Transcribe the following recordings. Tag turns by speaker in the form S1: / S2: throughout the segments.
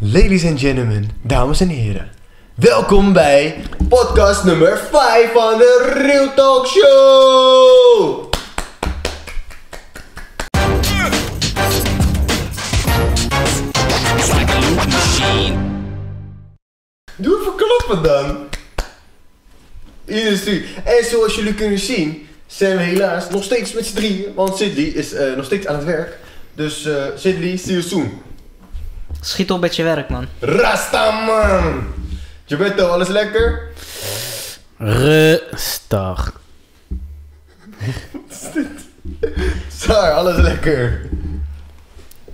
S1: Ladies and gentlemen, dames en heren. Welkom bij podcast nummer 5 van de Real Talk Show. Doe even kloppen dan. Industrie. En zoals jullie kunnen zien, zijn we helaas nog steeds met z'n drieën. Want Sidley is eh, nog steeds aan het werk. Dus eh Sidley, see you soon.
S2: Schiet op met je werk, man.
S1: Rastaman! Gebetto, alles lekker?
S3: Rustig.
S1: Saar, alles lekker.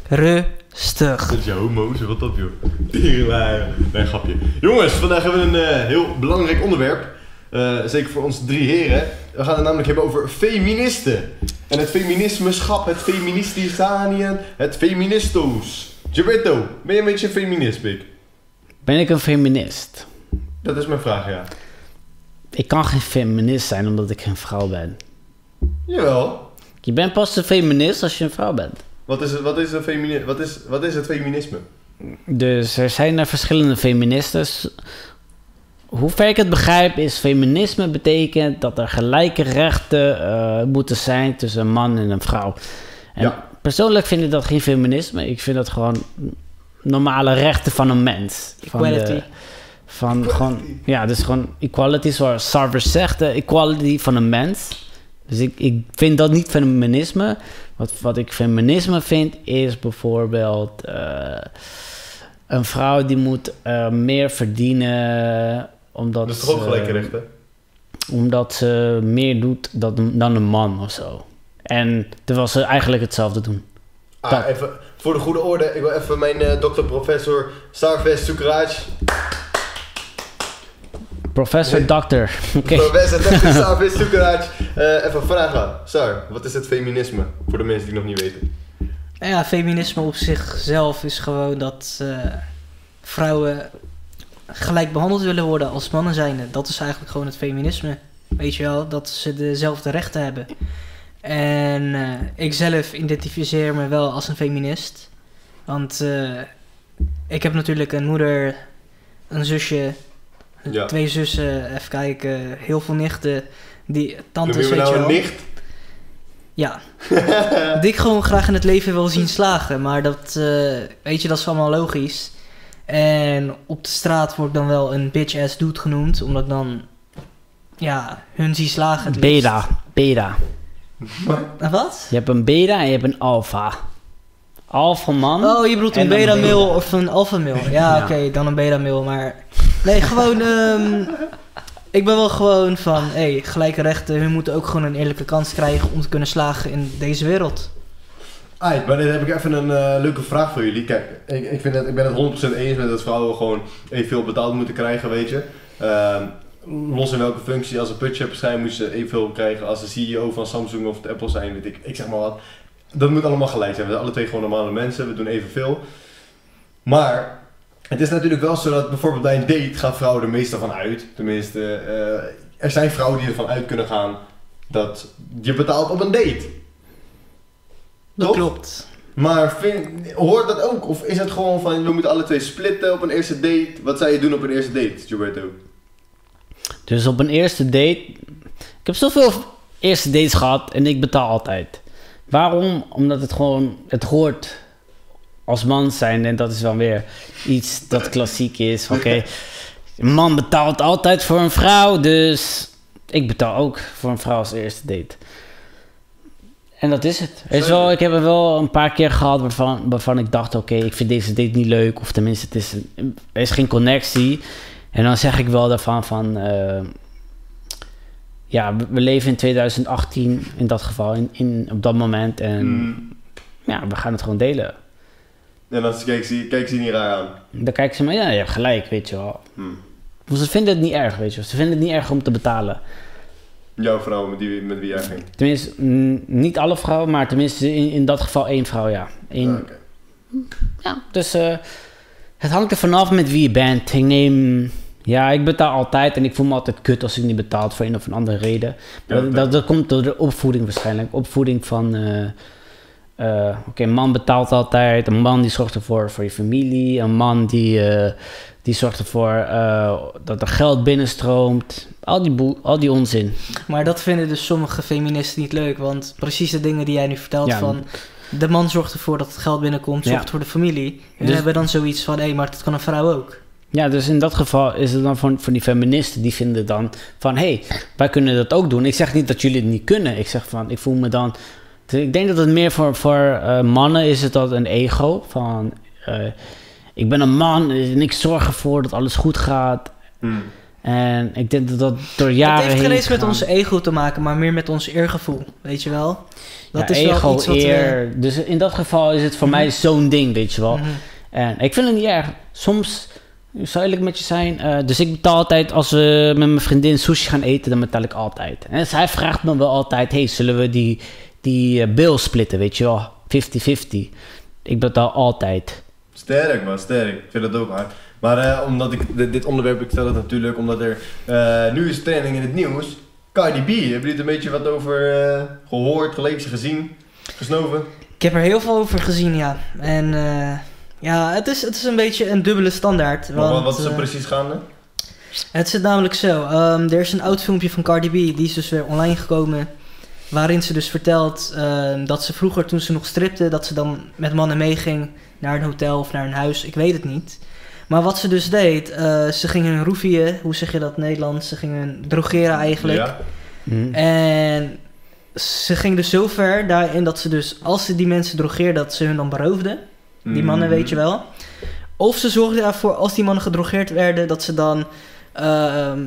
S2: Rustig.
S1: Dat is jouw homo, zo, wat op joh. Dierenwaaier. Nee, grapje. Jongens, vandaag hebben we een eh, heel belangrijk onderwerp. Eh, zeker voor onze drie heren. We gaan het namelijk hebben over feministen. En het feminismeschap, het feministisanien, het feministo's. Gilberto, ben je een beetje een feminist, Bik?
S3: Ben ik een feminist?
S1: Dat is mijn vraag, ja.
S3: Ik kan geen feminist zijn omdat ik geen vrouw ben.
S1: Jawel.
S3: Je bent pas een feminist als je een vrouw bent.
S1: Wat is, het- wat is, een femini- wat is, wat is het feminisme?
S3: Dus er zijn er verschillende feministen. Hoe ver ik het begrijp is feminisme betekent dat er gelijke rechten eh, moeten zijn tussen een man en een vrouw. En
S1: Ja.
S3: persoonlijk vind ik dat geen feminisme. Ik vind dat gewoon normale rechten van een mens. Van
S2: Equality.
S3: van gewoon, ja, dus gewoon equality zoals Sarver zegt, eh, equality van een mens. Dus ik, ik vind dat niet feminisme. Wat, wat ik feminisme vind is bijvoorbeeld eh, een vrouw die moet eh, meer verdienen omdat
S1: Dat is toch ook
S3: ze-
S1: gelijke rechten?
S3: omdat ze meer doet dan, dan een man of zo. En terwijl ze eigenlijk hetzelfde doen.
S1: Ah,
S3: Dat-
S1: even, voor de goede orde, ik wil even mijn eh dokter-professor Sarves Sukraj.
S3: Professor,
S1: Nee.
S3: dokter. Oké.
S1: Professor dokter Sarves Sukraj. eh, even vragen. Sar, wat is het feminisme? Voor de mensen die het nog niet weten.
S2: Nou ja, feminisme op zichzelf is gewoon dat eh, vrouwen gelijk behandeld willen worden als mannen zijn. Dat is eigenlijk gewoon het feminisme. Weet je wel, dat ze dezelfde rechten hebben. En eh, ik zelf identificeer me wel als een feminist. Want eh, ik heb natuurlijk een moeder, een zusje,
S1: Ja.
S2: twee zussen, even kijken, heel veel nichten. Die tantes,
S1: Noem je me
S2: weet
S1: nou
S2: je
S1: een
S2: wel.
S1: nicht?
S2: Ja. die ik gewoon graag in het leven wil zien slagen. Maar dat, eh, weet je, dat is allemaal logisch. En op de straat word ik dan wel een bitch-ass dude genoemd. Omdat ik dan, ja, hun zie slagen. het liefst.
S3: Beta. Beta.
S2: Eh, Wat?
S3: Je hebt een beta en je hebt een alfa. Alfa man.
S2: Oh, je bedoelt een
S3: En dan
S2: beta-mail
S3: beta.
S2: of een alpha-mail. Ja,
S3: Ja.
S2: oké, dan een beta-mail. Maar nee, gewoon, ehm, ik ben wel gewoon van, hé, hey, gelijke rechten. Hun moeten ook gewoon een eerlijke kans krijgen om te kunnen slagen in deze wereld.
S1: Ai, maar dan heb ik even een eh, leuke vraag voor jullie. Kijk, ik, ik, vind het, ik ben het 100% eens met dat vrouwen gewoon evenveel betaald moeten krijgen, weet je. Ehm, los in welke functie, als ze budget zijn, moeten ze evenveel krijgen als de CEO van Samsung of de Apple zijn, weet ik. Ik zeg maar wat. Dat moet allemaal gelijk zijn. We zijn alle twee gewoon normale mensen, we doen evenveel. Maar het is natuurlijk wel zo dat bijvoorbeeld bij een date gaan vrouwen er meestal van uit. Tenminste, eh, er zijn vrouwen die ervan uit kunnen gaan dat je betaalt op een date.
S2: Dat
S1: Toch?
S2: klopt.
S1: Maar vind, hoort dat ook? Of is het gewoon van, we moeten alle twee splitten op een eerste date? Wat zou je doen op een eerste date, Gilberto?
S3: Dus op een eerste date. Ik heb zoveel eerste dates gehad en ik betaal altijd. Waarom? Omdat het gewoon. Het hoort als man zijn en dat is dan weer iets dat klassiek is. Oké, een man betaalt altijd voor een vrouw, dus ik betaal ook voor een vrouw als eerste date. En dat is het. Er is wel, ik heb er wel een paar keer gehad waarvan, waarvan ik dacht: oké, ik vind deze date niet leuk. Of tenminste, het is een- er is geen connectie. En dan zeg ik wel daarvan van... eh, ja, we, we leven in 2018 in dat geval, in, in, op dat moment. En
S1: Mm.
S3: ja, we gaan het gewoon delen.
S1: En dan kijk ze, kijk ze niet raar aan.
S3: Dan kijken ze maar, ja, je hebt gelijk, weet je wel.
S1: Hmm.
S3: Want ze vinden het niet erg, weet je wel. Ze vinden het niet erg om te betalen.
S1: Jouw vrouw met, die, met wie jij ging.
S3: Tenminste, mm, niet alle vrouwen, maar tenminste in, in dat geval één vrouw, ja. Eén,
S1: Ah, oké.
S3: Ja, dus eh, het hangt er vanaf met wie je bent. Ik neem... Ja, ik betaal altijd en ik voel me altijd kut als ik niet betaal voor een of een andere reden.
S1: Ja,
S3: Maar dat,
S1: dat-
S3: dat, dat komt door de opvoeding waarschijnlijk. Opvoeding van... eh, eh, Oké, een man betaalt altijd. Een man die zorgt ervoor voor je familie. Een man die, eh, die zorgt ervoor eh, dat er geld binnenstroomt. Al die, boe- al die onzin.
S2: Maar dat vinden dus sommige feministen niet leuk. Want precies de dingen die jij nu vertelt
S3: Ja.
S2: van... De man zorgt ervoor dat het geld binnenkomt, zorgt
S3: Ja.
S2: voor de familie. En
S3: Dus-
S2: we hebben dan zoiets van, hé, maar dat kan een vrouw ook.
S3: Ja, dus in dat geval is het dan van, van die feministen die vinden dan van hé, hey, wij kunnen dat ook doen. Ik zeg niet dat jullie het niet kunnen. Ik zeg van ik voel me dan. dus Ik denk dat het meer voor, voor eh, mannen is het dat een ego van eh, ik ben een man en ik zorg ervoor dat alles goed gaat.
S1: Mm.
S3: En ik denk dat dat door jaren
S2: dat heeft geen
S3: heen
S2: eens
S3: is
S2: met
S3: gegaan.
S2: ons ego te maken, maar meer met ons eergevoel. Weet je wel? Dat
S3: Ja,
S2: is
S3: ego,
S2: wel iets wat eh, Mhm. we-
S3: eer. Dus in dat geval is het voor mij zo'n ding, weet je wel.
S2: Mhm.
S3: En ik vind het niet erg. Soms, ik zal eerlijk met je zijn, eh, dus ik betaal altijd als we met mijn vriendin sushi gaan eten, dan betaal ik altijd. En zij vraagt me wel altijd, hey, zullen we die, die eh, bill splitten, weet je wel, 50-50. Ik betaal altijd.
S1: Sterk man, sterk. Ik vind dat ook hard. Maar eh, omdat ik dit, dit onderwerp, ik stel het natuurlijk omdat er eh, nu is training in het nieuws. Cardi B, hebben jullie er een beetje wat over eh, gehoord, gelezen, gezien, gesnoven?
S2: Ik heb er heel veel over gezien, ja. En eh, ja, het is, het is een beetje een dubbele standaard.
S1: Maar wat,
S2: want,
S1: wat is er
S2: eh,
S1: precies gaande?
S2: Het zit namelijk zo. ehm, er is een oud filmpje van Cardi B, die is dus weer online gekomen. Waarin ze dus vertelt ehm, dat ze vroeger, toen ze nog stripte, dat ze dan met mannen meeging naar een hotel of naar een huis. Ik weet het niet. Maar wat ze dus deed, eh, ze ging hun roefieën, hoe zeg je dat in het Nederlands? Ze ging hun drogeren eigenlijk.
S1: Ja.
S3: Hm.
S2: En ze ging dus zo ver daarin dat ze dus, als ze die mensen drogeerde, dat ze hun dan beroofde. Die mannen,
S1: Mm.
S2: weet je wel. Of ze zorgden ervoor, als die mannen gedrogeerd werden, dat ze dan ehm,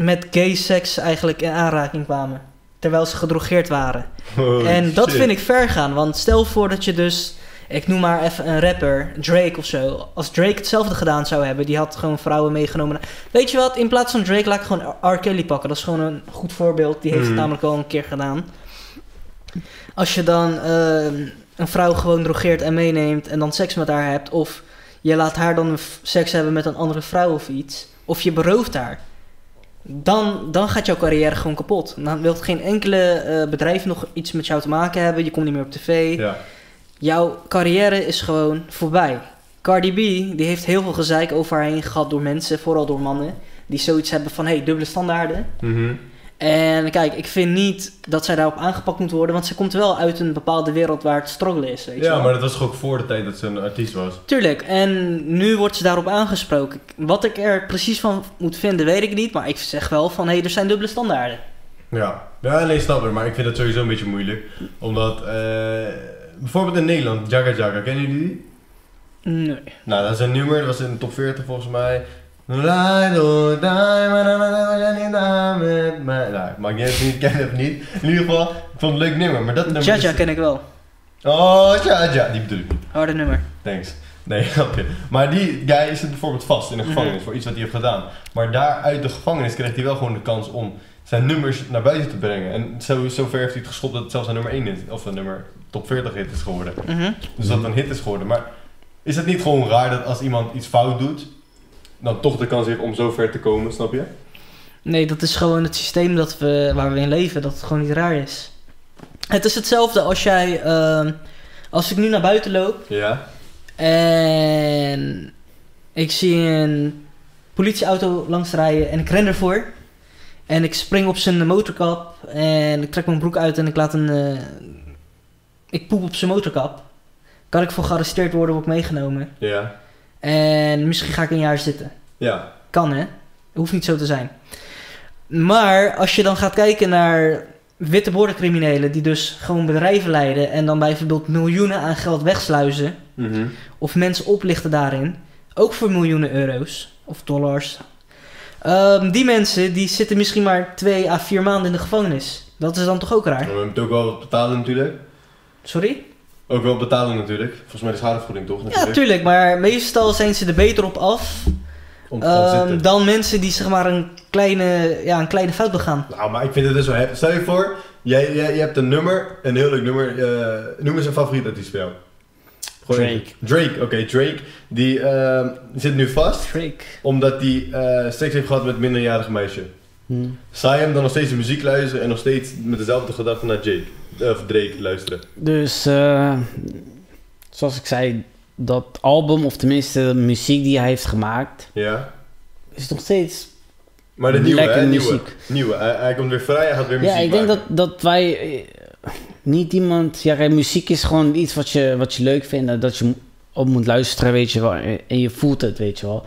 S2: met gay seks eigenlijk in aanraking kwamen. Terwijl ze gedrogeerd waren.
S1: Holy
S2: en dat
S1: shit.
S2: vind ik ver gaan, want stel voor dat je dus, ik noem maar even een rapper, Drake of zo. Als Drake hetzelfde gedaan zou hebben, die had gewoon vrouwen meegenomen. Weet je wat, in plaats van Drake laat ik gewoon R. Kelly pakken. Dat is gewoon een goed voorbeeld, die heeft
S1: Mhm.
S2: het namelijk al een keer gedaan. Als je dan ehm, een vrouw gewoon drogeert en meeneemt en dan seks met haar hebt, of je laat haar dan een f- seks hebben met een andere vrouw of iets, of je berooft haar, dan, dan gaat jouw carrière gewoon kapot. Dan wil geen enkele eh, bedrijf nog iets met jou te maken hebben, je komt niet meer op tv.
S1: Ja.
S2: Jouw carrière is gewoon voorbij. Cardi B die heeft heel veel gezeik over haar heen gehad door mensen, vooral door mannen, die zoiets hebben van hey, dubbele standaarden.
S1: Mhm.
S2: En kijk, ik vind niet dat zij daarop aangepakt moet worden, want ze komt wel uit een bepaalde wereld waar het struggle is. Weet je
S1: ja,
S2: wel.
S1: maar dat was toch ook voor de tijd dat ze een artiest was.
S2: Tuurlijk, en nu wordt ze daarop aangesproken. Wat ik er precies van moet vinden, weet ik niet, maar ik zeg wel van hé, hey, er zijn dubbele standaarden.
S1: Ja, ja nee, snap ik, maar ik vind dat sowieso een beetje moeilijk. Omdat, eh, bijvoorbeeld in Nederland, Jagga Jagga, kennen jullie die?
S2: Nee.
S1: Nou, dat is een nummer, dat was in de top 40 volgens mij. Nou, Laai, doei, daai, maar dan- dan- dan- dan- dan- dan- met mij. Nou, ik maak niet uit of je het kent of niet. In ieder geval, ik vond het een leuk nummer, maar dat nummer dus. is-
S2: Jaja ken ik wel.
S1: Oh, ja, ja, die bedoel ik niet.
S2: Harde nummer.
S1: Thanks. Nee, grapje. Maar die guy zit bijvoorbeeld vast in een gevangenis
S2: Mhm.
S1: voor iets wat hij heeft gedaan. Maar daar uit de gevangenis kreeg hij wel gewoon de kans om zijn nummers naar buiten te brengen. En zo, zover heeft hij het geschopt dat het zelfs zijn nummer 1 is, of een nummer top 40 hit is geworden.
S2: Mhm.
S1: Dus dat het een hit is geworden. Maar is het niet gewoon raar dat als iemand iets fout doet, dan toch de kans heeft om zo ver te komen, snap je?
S2: Nee, dat is gewoon het systeem dat we, waar we in leven, dat het gewoon niet raar is. Het is hetzelfde als jij, ehm, als ik nu naar buiten loop
S1: Ja.
S2: En ik zie een politieauto langs rijden en ik ren ervoor. En ik spring op zijn motorkap en ik trek mijn broek uit en ik laat een... eh, ik poep op zijn motorkap. Kan ik voor gearresteerd worden, word ik meegenomen.
S1: Ja.
S2: En misschien ga ik een jaar zitten.
S1: Ja.
S2: Kan hè? Hoeft niet zo te zijn. Maar als je dan gaat kijken naar witte bordencriminelen... die dus gewoon bedrijven leiden... en dan bijvoorbeeld miljoenen aan geld wegsluizen
S1: Mhm.
S2: of mensen oplichten daarin, ook voor miljoenen euro's of dollars. Ehm, die mensen die zitten misschien maar twee à vier maanden in de gevangenis. Dat is dan toch ook
S1: Maar
S2: raar?
S1: we moeten ook wel wat betalen natuurlijk.
S2: Sorry?
S1: Ook wel betalen natuurlijk. Volgens mij de schadevergoeding toch?
S2: Ja, tuurlijk, maar meestal zijn ze er beter op af
S1: Om te gaan
S2: ehm,
S1: zitten.
S2: dan mensen die zeg maar een kleine, ja, een kleine fout begaan.
S1: Nou, maar ik vind het dus wel heftig. Stel je voor, jij, jij, je hebt een nummer, een heel leuk nummer. eh, noem eens een favoriet artiest van jou.
S3: Drake.
S1: Drake, oké. Drake, die ehm, zit nu vast
S2: Freak.
S1: omdat hij eh seks heeft gehad met een minderjarige meisje.
S3: Hm.
S1: Zou je hem dan nog steeds de muziek luisteren en nog steeds met dezelfde gedachte naar Jake, eh, of Drake luisteren?
S3: Dus eh, zoals ik zei, dat album, of tenminste de muziek die hij heeft gemaakt,
S1: Ja.
S3: is nog steeds.
S1: Maar de nieuwe,
S3: Lekker
S1: hè? Nieuwe.
S3: muziek.
S1: nieuwe. Hij, hij komt weer vrij, hij gaat weer muziek
S3: Ja, ik denk dat,
S1: maken.
S3: dat wij eh, niet iemand. Ja, kijk, muziek is gewoon iets wat je, wat je leuk vindt en dat je mo- op moet luisteren, weet je wel. En en je voelt het, weet je wel.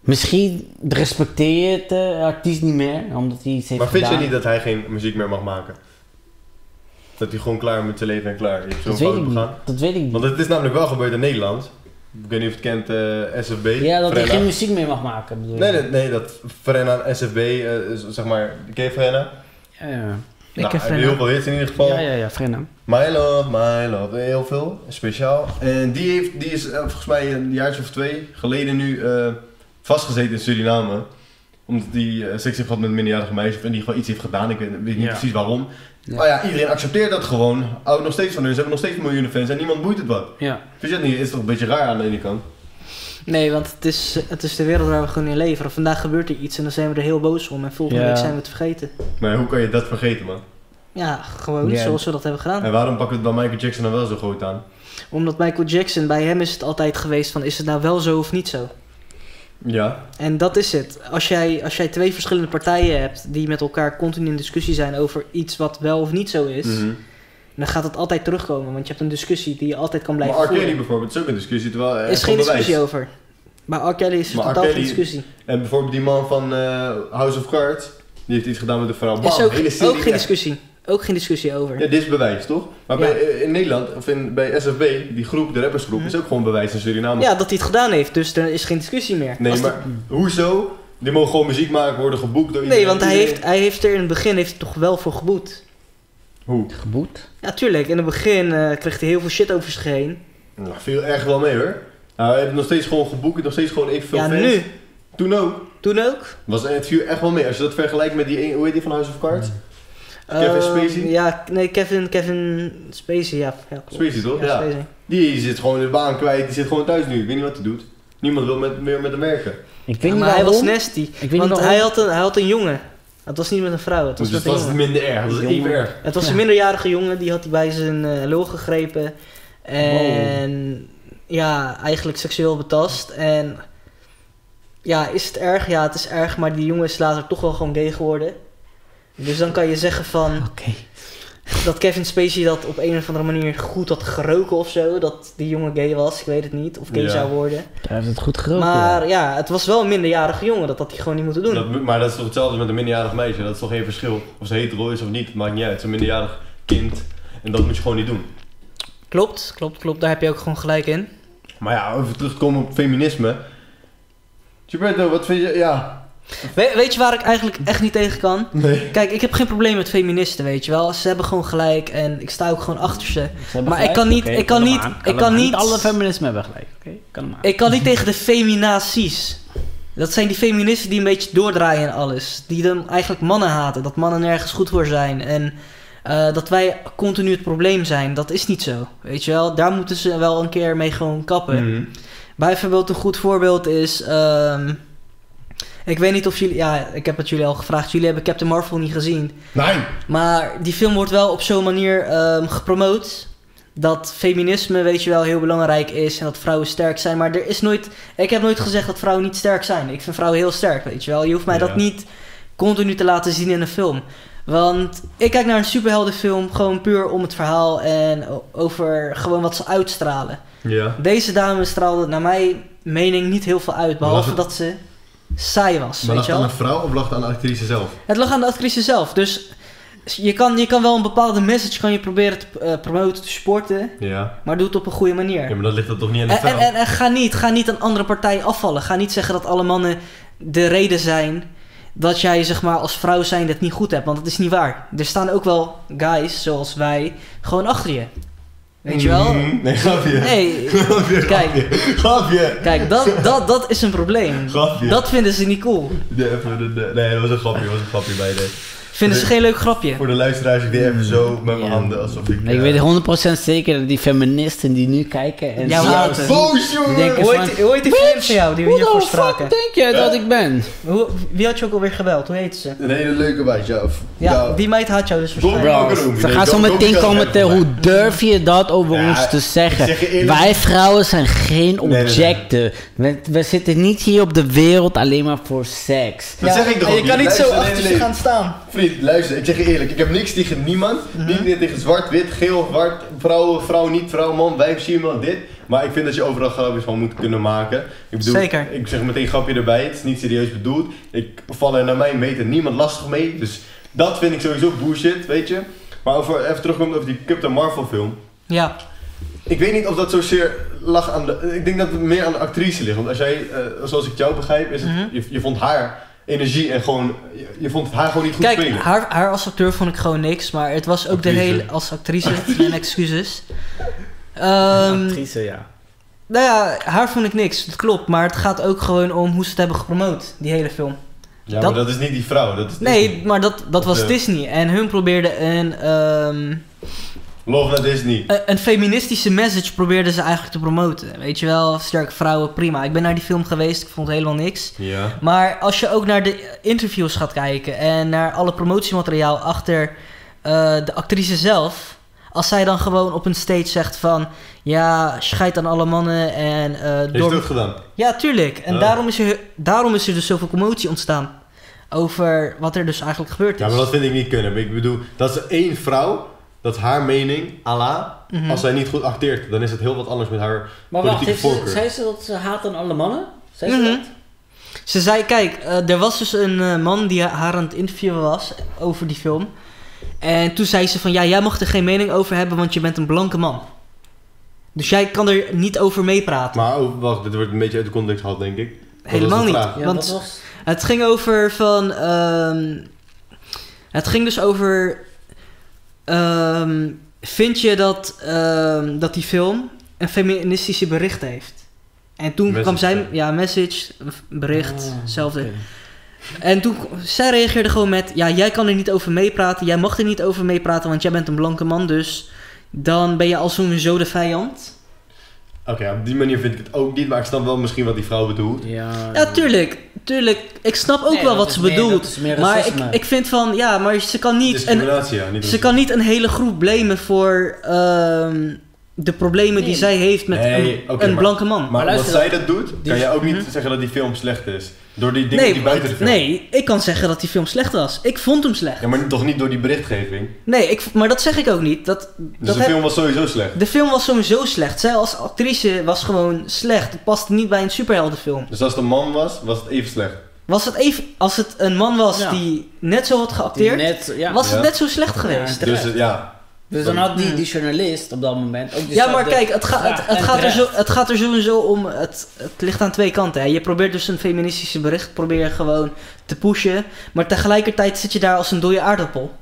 S3: Misschien respecteer je het eh, artiest niet meer, omdat hij iets heeft
S1: Maar vind
S3: gedaan.
S1: je niet dat hij geen muziek meer mag maken? Dat hij gewoon klaar met zijn leven en klaar is. Zo'n
S3: dat weet
S1: fout
S3: ik niet.
S1: begaan.
S3: Dat weet ik niet.
S1: Want het is namelijk wel gebeurd in Nederland. Ik weet niet of je het kent, eh, SFB.
S3: Ja, dat hij
S1: Frenna.
S3: geen muziek meer mag maken, bedoel
S1: Nee,
S3: je?
S1: nee, nee, dat Frenna en SFB, eh, is- zeg maar, ken je Frenna?
S3: Ja, ja.
S2: Ik
S1: Nou,
S2: heb Frenna.
S1: Heel veel hits in ieder geval.
S3: ja, ja, ja, Frenna.
S1: My Love, My Love, heel veel, speciaal. En die, heeft, die is eh, volgens mij een jaartje of twee geleden nu eh, vastgezeten in Suriname. Omdat die eh, seks heeft gehad met een minderjarige meisje en die gewoon iets heeft gedaan. Ik weet, weet niet
S3: Ja.
S1: precies waarom.
S3: Ja.
S1: Maar ja, iedereen accepteert dat gewoon. Houdt nog steeds van hun. Ze hebben nog steeds miljoenen fans en niemand boeit het wat.
S3: Ja.
S1: Vind je dat niet? Is toch een beetje raar aan de ene kant?
S2: Nee, want het is, het is de wereld waar we gewoon in leven. Vandaag gebeurt er iets en dan zijn we er heel boos om. En volgende
S3: Ja.
S2: week zijn we het vergeten.
S1: Maar hoe kan je dat vergeten, man?
S2: Ja, gewoon
S3: Ja.
S2: zoals we dat hebben gedaan.
S1: En waarom pakken we het bij Michael Jackson dan wel zo groot aan?
S2: Omdat Michael Jackson, bij hem is het altijd geweest van is het nou wel zo of niet zo.
S1: Ja.
S2: En dat is het. Als jij, als jij twee verschillende partijen hebt die met elkaar continu in discussie zijn over iets wat wel of niet zo is,
S1: Mhm.
S2: dan gaat dat altijd terugkomen. Want je hebt een discussie die je altijd kan
S1: Maar
S2: blijven
S1: R. Kelly
S2: voeren.
S1: bijvoorbeeld is eh, ook een discussie, terwijl
S2: Er
S1: er
S2: is geen
S1: bewijs.
S2: discussie over. Maar R. Kelly is er
S1: Maar R.
S2: totaal geen
S1: Kelly-
S2: discussie.
S1: En bijvoorbeeld die man van eh, House of Cards, die heeft iets gedaan met een vrouw. Bam,
S2: is ook,
S1: hele
S2: ook geen
S1: serie.
S2: discussie. Ook geen discussie over.
S1: Ja, dit is bewijs, toch? Maar
S2: Ja. Mhm.
S1: bij, eh, in Nederland, of in, bij SFB, die groep, de rappersgroep, is ook gewoon bewijs in Suriname.
S2: Ja, dat hij het gedaan heeft, dus er is geen discussie meer.
S1: Nee,
S2: Als
S1: maar hoezo? Die mogen gewoon muziek maken, worden geboekt door
S2: dat-
S1: iedereen.
S2: nee want hij
S1: Iedereen-
S2: heeft, hij heeft er in het begin heeft hij toch wel voor geboet.
S1: Hoe?
S3: Geboet?
S2: Ja, tuurlijk. In het begin eh, kreeg hij heel veel shit over zich heen.
S1: Nou, viel erg wel mee hoor. Nou, hij heeft nog steeds gewoon geboekt, nog steeds gewoon evenveel
S2: ja,
S1: fans.
S2: nu.
S1: Toen ook.
S2: Toen ook.
S1: Was, het viel echt wel mee. Als je dat vergelijkt met die, een- hoe heet die van House of Cards? Kevin
S2: Eh,
S1: Spacey?
S2: Ja, nee, Kevin, Kevin Spacey, ja. ja klopt.
S1: Spacey toch?
S2: Ja,
S1: Ja.
S2: Spacey.
S1: Die zit gewoon de baan kwijt, die zit gewoon thuis nu. Ik weet niet wat hij doet. Niemand wil met, meer met hem werken.
S3: Ik weet
S2: Ja,
S3: niet
S2: maar hij was
S3: waarom.
S2: nasty.
S3: Ik weet
S2: Want
S3: niet
S2: hij
S3: waarom.
S2: had, een, hij had een jongen. Het was niet met een vrouw, het
S1: Dus
S2: was met
S1: het
S2: een
S1: was
S2: jongen.
S1: minder erg, dat is even
S3: Jongen.
S1: erg.
S2: Het was
S3: Ja.
S2: een minderjarige jongen, die had hij bij zijn eh lul gegrepen. En ja, eigenlijk seksueel betast. En ja, is het erg? Ja, het is erg, maar die jongen is later toch wel gewoon gay geworden. Dus dan kan je zeggen van
S3: Oké.
S2: dat Kevin Spacey dat op een of andere manier goed had geroken of zo. Dat die jongen gay was, ik weet het niet. Of gay
S1: Ja.
S2: zou worden.
S3: Hij heeft het goed geroken.
S2: Maar ja, het was wel een minderjarige jongen. Dat had hij gewoon niet moeten doen.
S1: Dat, maar dat is toch hetzelfde met een minderjarig meisje? Dat is toch geen verschil? Of ze hetero is of niet, maakt niet uit. Het is een minderjarig kind en dat moet je gewoon niet doen.
S2: Klopt, klopt, klopt. Daar heb je ook gewoon gelijk in.
S1: Maar ja, even terugkomen op feminisme. Gilberto, wat vind je? Ja.
S2: We- weet je waar ik eigenlijk echt niet tegen kan?
S1: Nee.
S2: Kijk, ik heb geen probleem met feministen, weet je wel. Ze hebben gewoon gelijk en ik sta ook gewoon achter ze.
S3: Ze hebben
S2: Maar ik
S3: gelijk,
S2: kan niet-
S3: oké,
S2: ik kan
S3: hem
S2: niet-
S3: aan,
S2: ik
S3: hem
S2: kan
S3: aan.
S2: niet-
S3: alle feminisme hebben gelijk, oké? Kan hem aan.
S2: Ik kan niet tegen de feminazies. Dat zijn die feministen die een beetje doordraaien en alles. Die dan eigenlijk mannen haten. Dat mannen nergens goed voor zijn. En eh, dat wij continu het probleem zijn. Dat is niet zo, weet je wel. Daar moeten ze wel een keer mee gewoon kappen.
S1: Mhm.
S2: Bijvoorbeeld een goed voorbeeld is... ehm, ik weet niet of jullie... Ja, ik heb het jullie al gevraagd. Jullie hebben Captain Marvel niet gezien.
S1: Nee!
S2: Maar die film wordt wel op zo'n manier ehm, gepromoot. Dat feminisme, weet je wel, heel belangrijk is. En dat vrouwen sterk zijn. Maar er is nooit. Ik heb nooit gezegd dat vrouwen niet sterk zijn. Ik vind vrouwen heel sterk, weet je wel. Je hoeft mij
S1: Ja.
S2: dat niet continu te laten zien in een film. Want ik kijk naar een superheldenfilm gewoon puur om het verhaal en o- over gewoon wat ze uitstralen.
S1: Ja.
S2: Deze dame straalde naar mijn mening niet heel veel uit. Behalve
S1: het-
S2: dat ze saai was.
S1: Maar lag
S2: weet je
S1: het
S2: wel.
S1: aan een vrouw of lag het aan de actrice zelf?
S2: Het lag aan de actrice zelf. Dus je kan, je kan wel een bepaalde message kan je proberen te eh, promoten, te sporten.
S1: Ja.
S2: Maar doe het op een goede manier.
S1: Ja, maar dat ligt dat toch niet aan de
S2: en,
S1: vrouw?
S2: en, en, en ga, niet, ga niet een andere partij afvallen. Ga niet zeggen dat alle mannen de reden zijn dat jij zeg maar, als vrouw zijn het niet goed hebt. Want dat is niet waar. Er staan ook wel guys zoals wij gewoon achter je. Weet je wel?
S1: Mhm. Nee, grapje.
S2: Nee,
S1: Grapje,
S2: Kijk.
S1: grapje. Grapje.
S2: kijk, dat, dat, dat is een probleem.
S1: Grapje.
S2: Dat vinden ze niet cool.
S1: Nee, even een- nee, dat was een grapje, dat was een grapje bij de...
S2: Vinden ze geen leuk grapje?
S1: Voor de luisteraars, ik deed even zo met mijn
S3: Ja.
S1: handen alsof ik... eh,
S3: Ik weet 100% zeker dat die feministen die nu kijken en
S2: Ja,
S3: zo-
S2: maar-
S1: het. Boos, jongen!
S3: Denk-
S2: Hoe heet, hoe heet die vriend van jou die we
S3: Hoe
S2: hiervoor
S3: de fuck
S2: spraken?
S3: denk jij dat ik ben?
S2: Hoe, wie had je ook alweer geweld? Hoe heet ze?
S1: Een hele leuke meid, ja. Of-
S2: Ja, die meid had jou dus waarschijnlijk.
S1: Bro.
S3: Bro, ze gaan zo meteen komen tegen hoe durf je dat over
S1: Ja,
S3: ons te
S1: ik
S3: zeggen.
S1: zeg je eerlijk-
S3: Wij vrouwen zijn geen
S1: nee, nee.
S3: objecten. We, we zitten niet hier op de wereld alleen maar voor seks.
S1: Dat zeg ik toch
S2: en
S1: ook
S2: je kan niet zo
S1: Luister, nee,
S2: achter
S1: nee,
S2: ze
S1: nee.
S2: gaan staan.
S1: Vriend, luister, ik zeg je eerlijk, ik heb niks tegen niemand.
S2: Mhm.
S1: Niet tegen zwart, wit, geel, zwart, vrouw, vrouw, niet vrouw, man, wijf, sierman, dit. Maar ik vind dat je overal grapjes van moet kunnen maken. Ik bedoel,
S2: Zeker.
S1: Ik zeg meteen grapje erbij, het is niet serieus bedoeld. Ik val er naar mijn meter niemand lastig mee. Dus dat vind ik sowieso bullshit, weet je. Maar over, even terugkomen over die Captain Marvel film.
S2: Ja,
S1: Ik weet niet of dat zozeer lag aan de... Ik denk dat het meer aan de actrice ligt. Want als jij, eh, zoals ik jou begrijp, is het,
S2: Mhm.
S1: je, je vond haar energie en gewoon... Je, je vond haar gewoon niet goed
S2: kijk,
S1: spelen.
S2: haar, haar als acteur vond ik gewoon niks, maar het was ook de
S1: Actrice.
S2: hele. als actrice, mijn excuses. Ehm
S3: ja.
S2: nou ja, haar vond ik niks, dat klopt, maar het gaat ook gewoon om hoe ze het hebben gepromoot, die hele film.
S1: Ja,
S2: Dat-
S1: maar dat is niet die vrouw. Dat is
S2: Nee,
S1: Disney.
S2: maar dat, dat was
S1: eh,
S2: Disney en hun probeerden een. ehm,
S1: Love naar Disney.
S2: Eh, Een, een feministische message probeerden ze eigenlijk te promoten. Weet je wel, sterke vrouwen, prima. Ik ben naar die film geweest, ik vond helemaal niks.
S1: Ja.
S2: Maar als je ook naar de interviews gaat kijken en naar alle promotiemateriaal achter eh, de actrice zelf. Als zij dan gewoon op een stage zegt van, ja, scheid aan alle mannen en... eh,
S1: Heeft het ook gedaan.
S2: Ja, tuurlijk. En
S1: Oh.
S2: daarom, is er, daarom is er dus zoveel commotie ontstaan. Over wat er dus eigenlijk gebeurd
S1: Ja,
S2: is.
S1: maar dat vind ik niet kunnen. Ik bedoel, dat is één vrouw, dat is haar mening, Allah.
S2: Mhm.
S1: Als zij niet goed acteert, dan is het heel wat anders met haar
S3: Maar wacht,
S1: politieke
S3: heeft ze,
S1: voorkeur.
S3: zei ze dat ze haat aan alle mannen? Zei ze
S2: Mhm.
S3: dat?
S2: Ze zei, kijk, eh, er was dus een eh, man die haar aan het interviewen was over die film. En toen zei ze van, ja, jij mag er geen mening over hebben, want je bent een blanke man. Dus jij kan er niet over meepraten.
S1: Maar oh, wacht, dit wordt een beetje uit de context gehaald, denk ik. Wat
S2: Helemaal
S1: was de
S2: niet.
S1: vraag?
S3: Ja,
S2: Want-
S3: dat was...
S2: Het ging over van, ehm, het ging dus over, ehm, vind je dat, ehm, dat die film een feministische bericht heeft? En toen kwam
S1: Message,
S2: zij,
S1: ja.
S2: ja, message, bericht,
S3: Ah,
S2: hetzelfde.
S3: oké.
S2: En toen, zij reageerde gewoon met, ja, jij kan er niet over meepraten, jij mag er niet over meepraten, want jij bent een blanke man, dus dan ben je al zo'n zo de vijand.
S1: Oké, op die manier vind ik het ook niet, maar ik snap wel misschien wat die vrouw bedoelt.
S3: Ja,
S2: Ja, tuurlijk, tuurlijk, ik snap ook
S3: Nee,
S2: wel
S3: dat
S2: wat
S3: is
S2: ze
S3: meer-
S2: bedoelt.
S3: dat is meer
S2: maar ik,
S3: racisme.
S2: ik vind van, ja, maar ze kan
S1: Dus
S2: niet, een,
S1: Discriminatie, ja. Niet
S2: ze kan niet een hele groep blamen voor ehm, de problemen die
S3: Nee.
S2: zij heeft met
S1: Nee,
S2: een,
S1: oké,
S2: een
S1: maar-
S2: blanke man.
S1: Maar omdat
S3: luister,
S1: zij dat doet, kan
S3: die-
S1: je ook niet zeggen dat die film slecht is. Door die dingen
S2: Mhm. nee,
S1: die buiten de
S2: want-
S1: film...
S2: nee, ik kan zeggen dat die film slecht was. Ik vond hem slecht.
S1: Ja, maar toch niet door die berichtgeving.
S2: Nee, ik, maar dat zeg ik ook niet. Dat,
S1: Dus
S2: dat
S1: de
S2: heb-
S1: film was sowieso slecht.
S2: De film was sowieso slecht. Zij als actrice was gewoon slecht. Het paste niet bij een superheldenfilm.
S1: Dus als het een man was, was het even slecht.
S2: Was het even, als het een man was
S3: Ja.
S2: die net zo had
S3: die
S2: geacteerd,
S3: net, ja.
S2: was het
S1: Ja.
S2: net zo slecht geweest.
S3: Ja,
S1: Dus
S3: Terecht.
S1: het- ja.
S3: Dus dan had die, die journalist op dat moment ook
S2: Ja, maar
S3: diezelfde
S2: kijk, het, ga-
S3: vraag.
S2: het, het,
S3: En
S2: gaat er
S3: terecht.
S2: zo, het gaat er sowieso om. Het, het ligt aan twee kanten. Hè. Je probeert dus een feministische bericht probeer je gewoon te pushen. Maar tegelijkertijd zit je daar als een dode aardappel.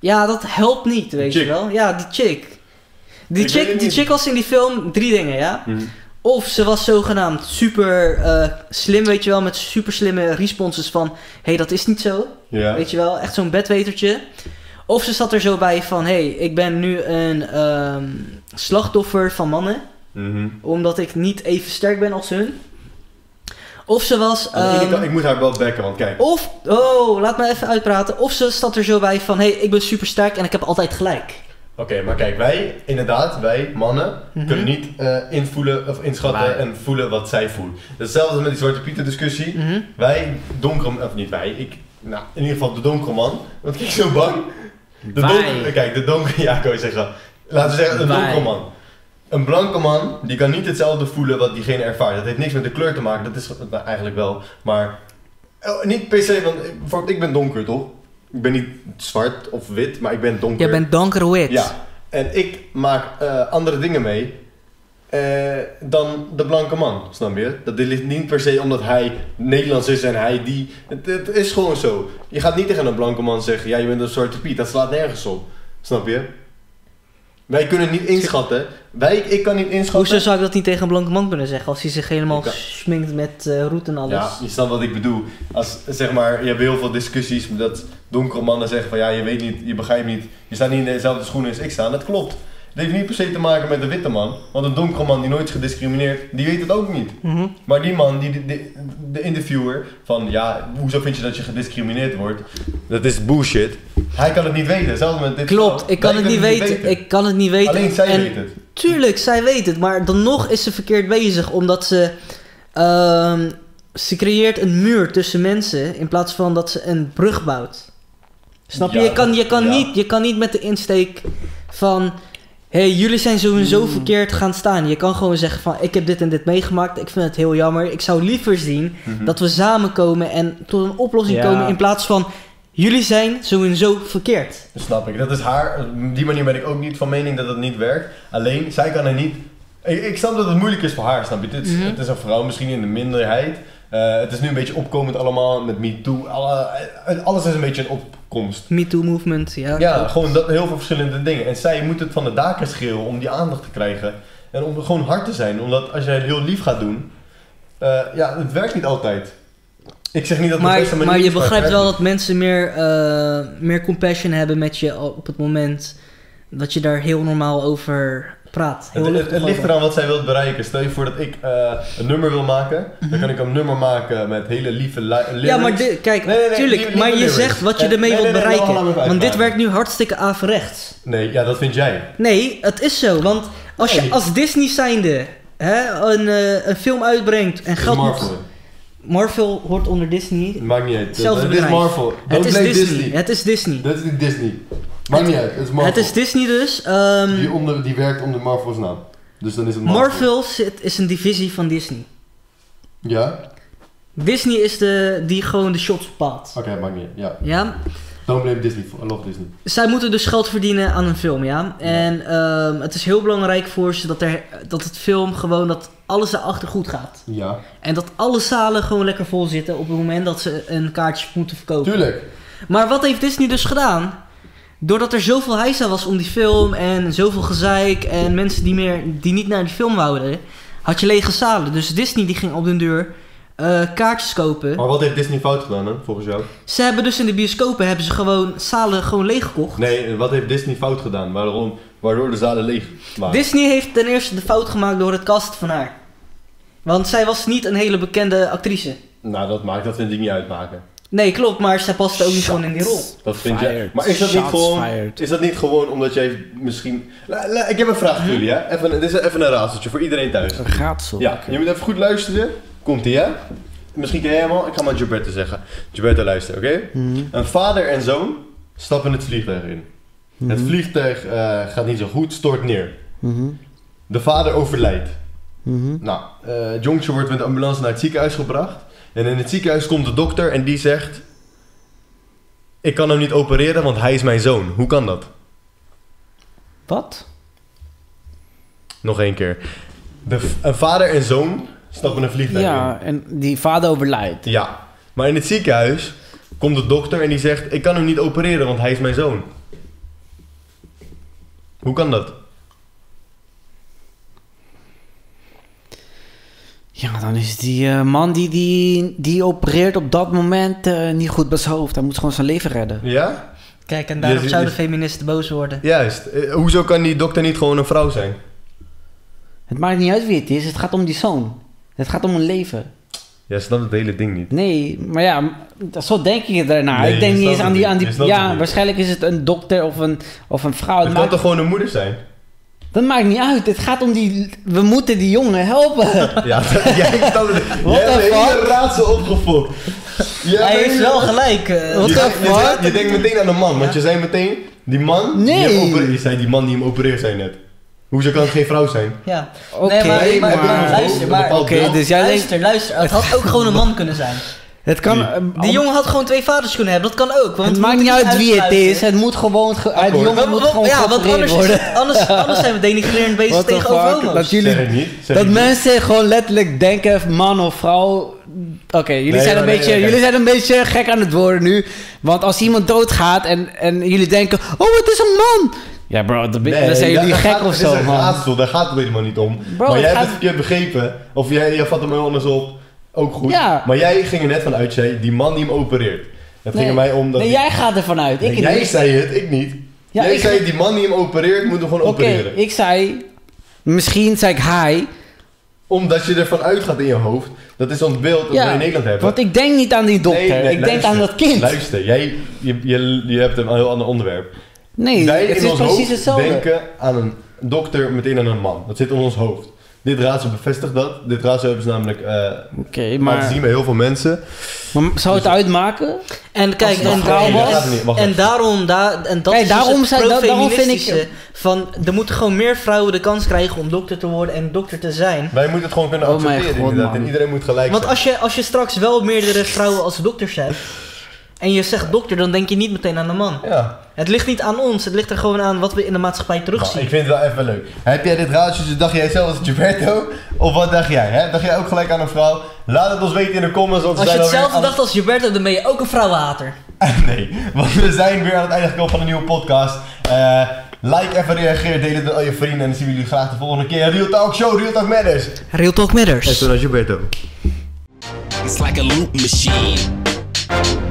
S2: Ja, dat helpt niet, weet
S1: chick.
S2: je wel. Ja, die chick. Die,
S1: Ik weet
S2: chick,
S1: het
S2: die
S1: niet.
S2: chick was in die film drie dingen, ja.
S1: Hm.
S2: Of ze was zogenaamd super eh, slim, weet je wel, met super slimme responses van... Hé, hey, dat is niet zo,
S1: Ja.
S2: weet je wel, echt zo'n bedwetertje. Of ze zat er zo bij van, hé, hey, ik ben nu een ehm, slachtoffer van mannen,
S1: Mhm.
S2: omdat ik niet even sterk ben als hun. Of ze was...
S1: Aan de ene
S2: ehm,
S1: kant- ik moet haar wel bekken, want kijk.
S2: of, oh, laat me even uitpraten. Of ze zat er zo bij van, hé, hey, ik ben super sterk en ik heb altijd gelijk.
S1: Oké, maar kijk, wij, inderdaad, wij mannen,
S2: Mhm.
S1: kunnen niet eh, invoelen of inschatten
S3: Maar-
S1: en voelen wat zij voelt. Hetzelfde als met die Zwarte Pieter discussie.
S2: Mhm.
S1: Wij, donkere, of niet wij, ik, nou, in ieder geval de donkere man, want ik zo bang. De
S3: Wij.
S1: donkere, kijk, de donkere, ja, ik wou zeggen, laten we zeggen, een
S3: Wij.
S1: donkere man. Een blanke man, die kan niet hetzelfde voelen wat diegene ervaart. Dat heeft niks met de kleur te maken, dat is nou, eigenlijk wel, maar eh, niet per se, want eh, bijvoorbeeld, ik ben donker, toch? Ik ben niet zwart of wit, maar ik ben donker.
S2: Jij bent donker wit.
S1: Ja, en ik maak eh, andere dingen mee eh, dan de blanke man, snap je? Dat dit ligt niet per se omdat hij Nederlands is en hij die... Het, het is gewoon zo. Je gaat niet tegen een blanke man zeggen, ja, je bent een zwarte piet, dat slaat nergens op. Snap je? Wij kunnen niet inschatten. Wij, ik kan niet inschatten.
S2: Hoezo zou ik dat niet tegen een blanke man kunnen zeggen als hij zich helemaal
S1: Ik kan-
S2: sminkt met eh roet en alles?
S1: Ja, je snapt wat ik bedoel. Als, zeg maar, je hebt heel veel discussies dat donkere mannen zeggen van ja, je weet niet, je begrijpt niet. Je staat niet in dezelfde schoenen als ik sta. En dat klopt. Het heeft niet per se te maken met een witte man. Want een donkere man die nooit is gediscrimineerd, die weet het ook niet.
S2: Mhm.
S1: Maar die man, die, die- die- de interviewer, van ja, hoezo vind je dat je gediscrimineerd wordt? Dat is bullshit. Hij kan het niet weten. Hetzelfde met dit
S2: Klopt,
S1: verhaal.
S2: ik kan
S1: Wij
S2: het niet
S1: kunnen
S2: weten. Ik kan het niet weten.
S1: Alleen zij
S2: en
S1: weet het.
S2: Tuurlijk, zij weet het, maar dan nog is ze verkeerd bezig, omdat ze. ehm, ze creëert een muur tussen mensen in plaats van dat ze een brug bouwt. Snap je?
S1: Ja,
S2: je, kan, je, kan
S1: ja.
S2: niet, je kan niet met de insteek van. Hé, hey, jullie zijn sowieso
S1: Hmm.
S2: verkeerd gaan staan. Je kan gewoon zeggen van, ik heb dit en dit meegemaakt. Ik vind het heel jammer. Ik zou liever zien
S1: Mhm.
S2: dat we samenkomen en tot een oplossing
S3: Ja.
S2: komen in plaats van jullie zijn sowieso verkeerd.
S1: Dat snap ik. Dat is haar. Op die manier ben ik ook niet van mening dat dat niet werkt. Alleen, zij kan er niet... Ik, ik snap dat het moeilijk is voor haar, snap je? Het is,
S2: Mhm.
S1: het is een vrouw misschien in de minderheid. Eh, het is nu een beetje opkomend allemaal met MeToo. Alle, eh, alles is een beetje een opkomst.
S2: MeToo-movement, ja.
S1: Ja, gewoon dat, heel veel verschillende dingen. En zij moet het van de daken schreeuwen om die aandacht te krijgen. En om gewoon hard te zijn. Omdat als jij het heel lief gaat doen... eh, ja, het werkt niet altijd. Ik zeg niet dat het de
S2: maar,
S1: beste manier
S2: maar je
S1: is, het
S2: begrijpt
S1: werkt
S2: wel dat mensen meer, eh, meer compassion hebben met je op het moment dat je daar heel normaal over praat. Heel
S1: Het, het, het
S2: luchtig
S1: ligt
S2: over.
S1: eraan wat zij wilt bereiken. Stel je voor dat ik eh, een nummer wil maken, dan kan ik een nummer maken met hele lieve li- lyrics.
S2: Mhm. Ja, maar dit- kijk,
S1: Nee, nee, nee,
S2: tuurlijk,
S1: die- die
S2: maar je
S1: lyrics.
S2: zegt wat je
S1: En-
S2: ermee
S1: nee,
S2: wilt
S1: nee, nee, laat
S2: bereiken.
S1: me even
S2: want dit
S1: uitpraten.
S2: werkt nu hartstikke averechts.
S1: Nee, ja, dat vind jij.
S2: Nee, het is zo, want als je
S1: Nee.
S2: als Disney zijnde hè, een, eh, een film uitbrengt en
S1: Het is
S2: geld
S1: Marvel.
S2: moet... Marvel hoort onder Disney.
S1: Maakt niet uit.
S2: Hetzelfde
S1: Het is
S2: bedrijf.
S1: Marvel.
S2: Het
S1: Don't
S2: is
S1: blame
S2: Disney.
S1: Disney.
S2: Het is Disney.
S1: Dat is niet Disney. Maakt
S2: Het-
S1: niet uit. Het is Marvel.
S2: Het is Disney dus. ehm,
S1: die, onder, die werkt onder Marvel's naam. Dus dan is het Marvel.
S2: Marvel zit- is een divisie van Disney.
S1: Ja?
S2: Disney is de, die gewoon de shots bepaalt.
S1: Oké, maakt niet uit. Ja.
S2: Ja?
S1: Don't blame Disney. I love Disney.
S2: Zij moeten dus geld verdienen aan hun film, ja? En ehm, het is heel belangrijk voor ze dat, er, dat het film gewoon, dat alles erachter goed gaat.
S1: Ja.
S2: En dat alle zalen gewoon lekker vol zitten op het moment dat ze een kaartje moeten verkopen.
S1: Tuurlijk.
S2: Maar wat heeft Disney dus gedaan? Doordat er zoveel heisa was om die film en zoveel gezeik en mensen die, meer, die niet naar die film wouden, had je lege zalen. Dus Disney die ging op den duur eh, kaartjes kopen.
S1: Maar wat heeft Disney fout gedaan, hè, volgens jou?
S2: Ze hebben dus in de bioscopen hebben ze gewoon zalen gewoon leeg gekocht.
S1: Nee, wat heeft Disney fout gedaan? Waarom? Waardoor de zalen leeg waren.
S2: Disney heeft ten eerste de fout gemaakt door het cast van haar. Want zij was niet een hele bekende actrice.
S1: Nou, dat maakt, dat vind ik niet uitmaken.
S2: Nee, klopt, maar zij paste ook niet
S3: Shots
S2: gewoon in die rol.
S1: Dat vind
S3: fired.
S1: je. Maar is dat, niet
S3: Shots
S1: gewoon,
S3: fired.
S1: is dat niet gewoon omdat jij misschien. La- la- ik heb een vraag voor jullie, hè? Even, dit is even een raadseltje voor iedereen thuis.
S3: Een raadsel.
S1: Ja, je moet even goed luisteren. Komt ie, hè? Misschien ken jij hem al. Ik ga maar Gilberto zeggen. Gilberto, luister, oké?
S3: Mhm.
S1: Een vader en zoon stappen het vliegtuig in. Het vliegtuig eh, gaat niet zo goed, stort neer.
S3: Mhm.
S1: De vader overlijdt.
S3: Mhm.
S1: Nou, eh het jongetje wordt met de ambulance naar het ziekenhuis gebracht. En in het ziekenhuis komt de dokter en die zegt... Ik kan hem niet opereren, want hij is mijn zoon. Hoe kan dat?
S3: Wat?
S1: Nog één keer. De v- een vader en zoon stappen een vliegtuig in.
S3: Ja, en die vader overlijdt.
S1: Ja. Maar in het ziekenhuis komt de dokter en die zegt... Ik kan hem niet opereren, want hij is mijn zoon. Hoe kan dat?
S3: Ja, dan is die eh, man die, die, die opereert op dat moment eh, niet goed bij zijn hoofd. Hij moet gewoon zijn leven redden.
S1: Ja?
S2: Kijk, en daarom
S1: Je- je-
S2: zouden feministen boos worden.
S1: Juist. Eh, hoezo kan die dokter niet gewoon een vrouw zijn?
S3: Het maakt niet uit wie het is, het gaat om die zoon. Het gaat om een leven.
S1: Ja, snapt het hele ding niet.
S3: Nee, maar ja, m- zo denk ik daarna.
S1: Nee,
S3: ik
S1: je
S3: denk niet
S1: snapt
S3: eens aan
S1: het
S3: die...
S1: niet.
S3: Aan
S1: Je
S3: die
S1: snapt het
S3: ja,
S1: niet.
S3: waarschijnlijk is het een dokter of een, of een vrouw.
S1: het
S3: Het
S1: kan
S3: maakt,
S1: toch gewoon een moeder zijn?
S3: dat maakt niet uit. Het gaat om die... We moeten die jongen helpen.
S1: Ja, dat- jij staat er.
S3: What
S1: Jij hebt
S3: the
S1: de hele
S3: fuck?
S1: raadsel opgefokt. Jij
S2: Hij
S1: bent-
S2: heeft wel gelijk. eh.
S3: Wat
S1: je,
S3: the
S1: je- je-
S3: fuck?
S1: Je, denkt meteen aan een man, want je zei meteen, die man
S3: Nee.
S1: die hem opereert, je zei die man die hem opereert, zei net. Hoezo kan het geen vrouw zijn?
S2: Ja.
S3: Oké,
S2: nee, maar, maar,
S3: maar-
S2: luister, maar...
S1: Oké,
S3: Oké, dus jij denkt...
S2: Luister, luister. Het had ook gewoon een man kunnen zijn.
S3: Het kan...
S1: Die-
S3: eh,
S2: Die jongen had gewoon twee vaders kunnen hebben. Dat kan ook. Want
S3: Het
S2: we
S3: maakt
S2: moeten
S3: niet uit wie het
S2: uitsluiten.
S3: is. Het moet gewoon... ge- eh, die
S1: Akkoord.
S3: jongen moet
S2: Want- want-
S3: gewoon
S2: ja, want
S3: geopereerd
S2: anders, is
S3: worden.
S2: het- anders, anders zijn we denigrerend bezig
S3: What the
S2: tegenover
S3: fuck? Dat
S2: homo's.
S3: jullie
S1: Zeg ik niet. Zeg
S3: Dat
S1: ik niet.
S3: mensen gewoon letterlijk denken, man of vrouw. Oké, jullie,
S1: Nee,
S3: zijn
S1: nee,
S3: een
S1: nee,
S3: beetje,
S1: nee,
S3: jullie
S1: nee.
S3: zijn een beetje gek aan het worden nu. Want als iemand doodgaat en, en jullie denken, oh het is een man. Ja, bro, dat, ben- dan zijn jullie
S1: daar
S3: gek
S1: gaat-
S3: of
S1: het is
S3: zo,
S1: een
S3: man.
S1: raadsel, daar gaat het helemaal niet om.
S3: Bro,
S1: maar
S3: het
S1: jij hebt
S3: gaat-
S1: het verkeerd begrepen. Of jij, jij vat hem heel anders op. Ook goed.
S3: Ja.
S1: Maar jij ging er net van uit, zei die man die hem opereert. Het
S3: Nee.
S1: ging er mij om dat...
S3: Nee,
S1: die-
S3: jij gaat ervan uit. Ik
S1: Nee, jij
S3: niet.
S1: zei het, ik niet.
S3: Ja,
S1: jij
S3: ik-
S1: zei die man die hem opereert moet hem gewoon
S3: Oké,
S1: opereren.
S3: ik zei... Misschien zei ik hi.
S1: Omdat je ervan uitgaat in je hoofd. Dat is ons beeld dat we in Nederland hebben.
S3: Want ik denk niet aan die dokter.
S1: Nee, nee,
S3: ik denk
S1: luister.
S3: aan dat kind.
S1: Luister, jij, je, je, je hebt een heel ander onderwerp.
S3: Nee,
S1: Wij in
S3: het is
S1: ons
S3: precies
S1: hoofd
S3: hetzelfde.
S1: denken aan een dokter meteen aan een man. Dat zit in ons hoofd. Dit raadsel bevestigt dat. Dit raadsel hebben ze namelijk eh
S3: Oké,
S1: laten zien Dus-
S3: maar,
S1: bij heel veel mensen.
S3: maar zou het uitmaken?
S2: En
S3: Als
S2: kijk,
S3: het
S2: en,
S3: een vrouw
S2: en-
S3: was-
S1: Wacht even.
S2: en daarom, da, en dat
S3: Nee,
S2: is dus
S3: daarom
S2: het
S3: zei- da- daarom vind ik-
S2: pro-feministische Van, er moeten gewoon meer vrouwen de kans krijgen om dokter te worden en dokter te zijn.
S1: Wij moeten het gewoon kunnen
S3: Oh mijn
S1: accepteren
S3: God,
S1: inderdaad.
S3: man.
S1: En iedereen moet gelijk
S2: Want
S1: zijn.
S2: als je, als je straks wel meerdere vrouwen als dokters hebt, en je zegt dokter, dan denk je niet meteen aan een man.
S1: Ja,
S2: Het ligt niet aan ons, het ligt er gewoon aan wat we in de maatschappij
S1: Nou,
S2: terugzien.
S1: ik vind het wel even leuk. Heb jij dit raadsel, dacht jij zelf als Gilberto? Of wat dacht jij? Hè? Dacht jij ook gelijk aan een vrouw? Laat het ons weten in de comments. Want we
S2: Als je
S1: zijn alweer
S2: hetzelfde
S1: aan-
S2: dacht als Gilberto, dan ben je ook een vrouwenhater.
S1: Nee, want we zijn weer aan het einde gekomen van een nieuwe podcast. Eh, like even, reageer, deel het met al je vrienden. En dan zien we jullie graag de volgende keer. Real Talk Show, Real Talk Matters.
S2: Real
S1: É
S2: Talk Matters.
S1: zoals Gilberto.
S4: It's like a loop machine.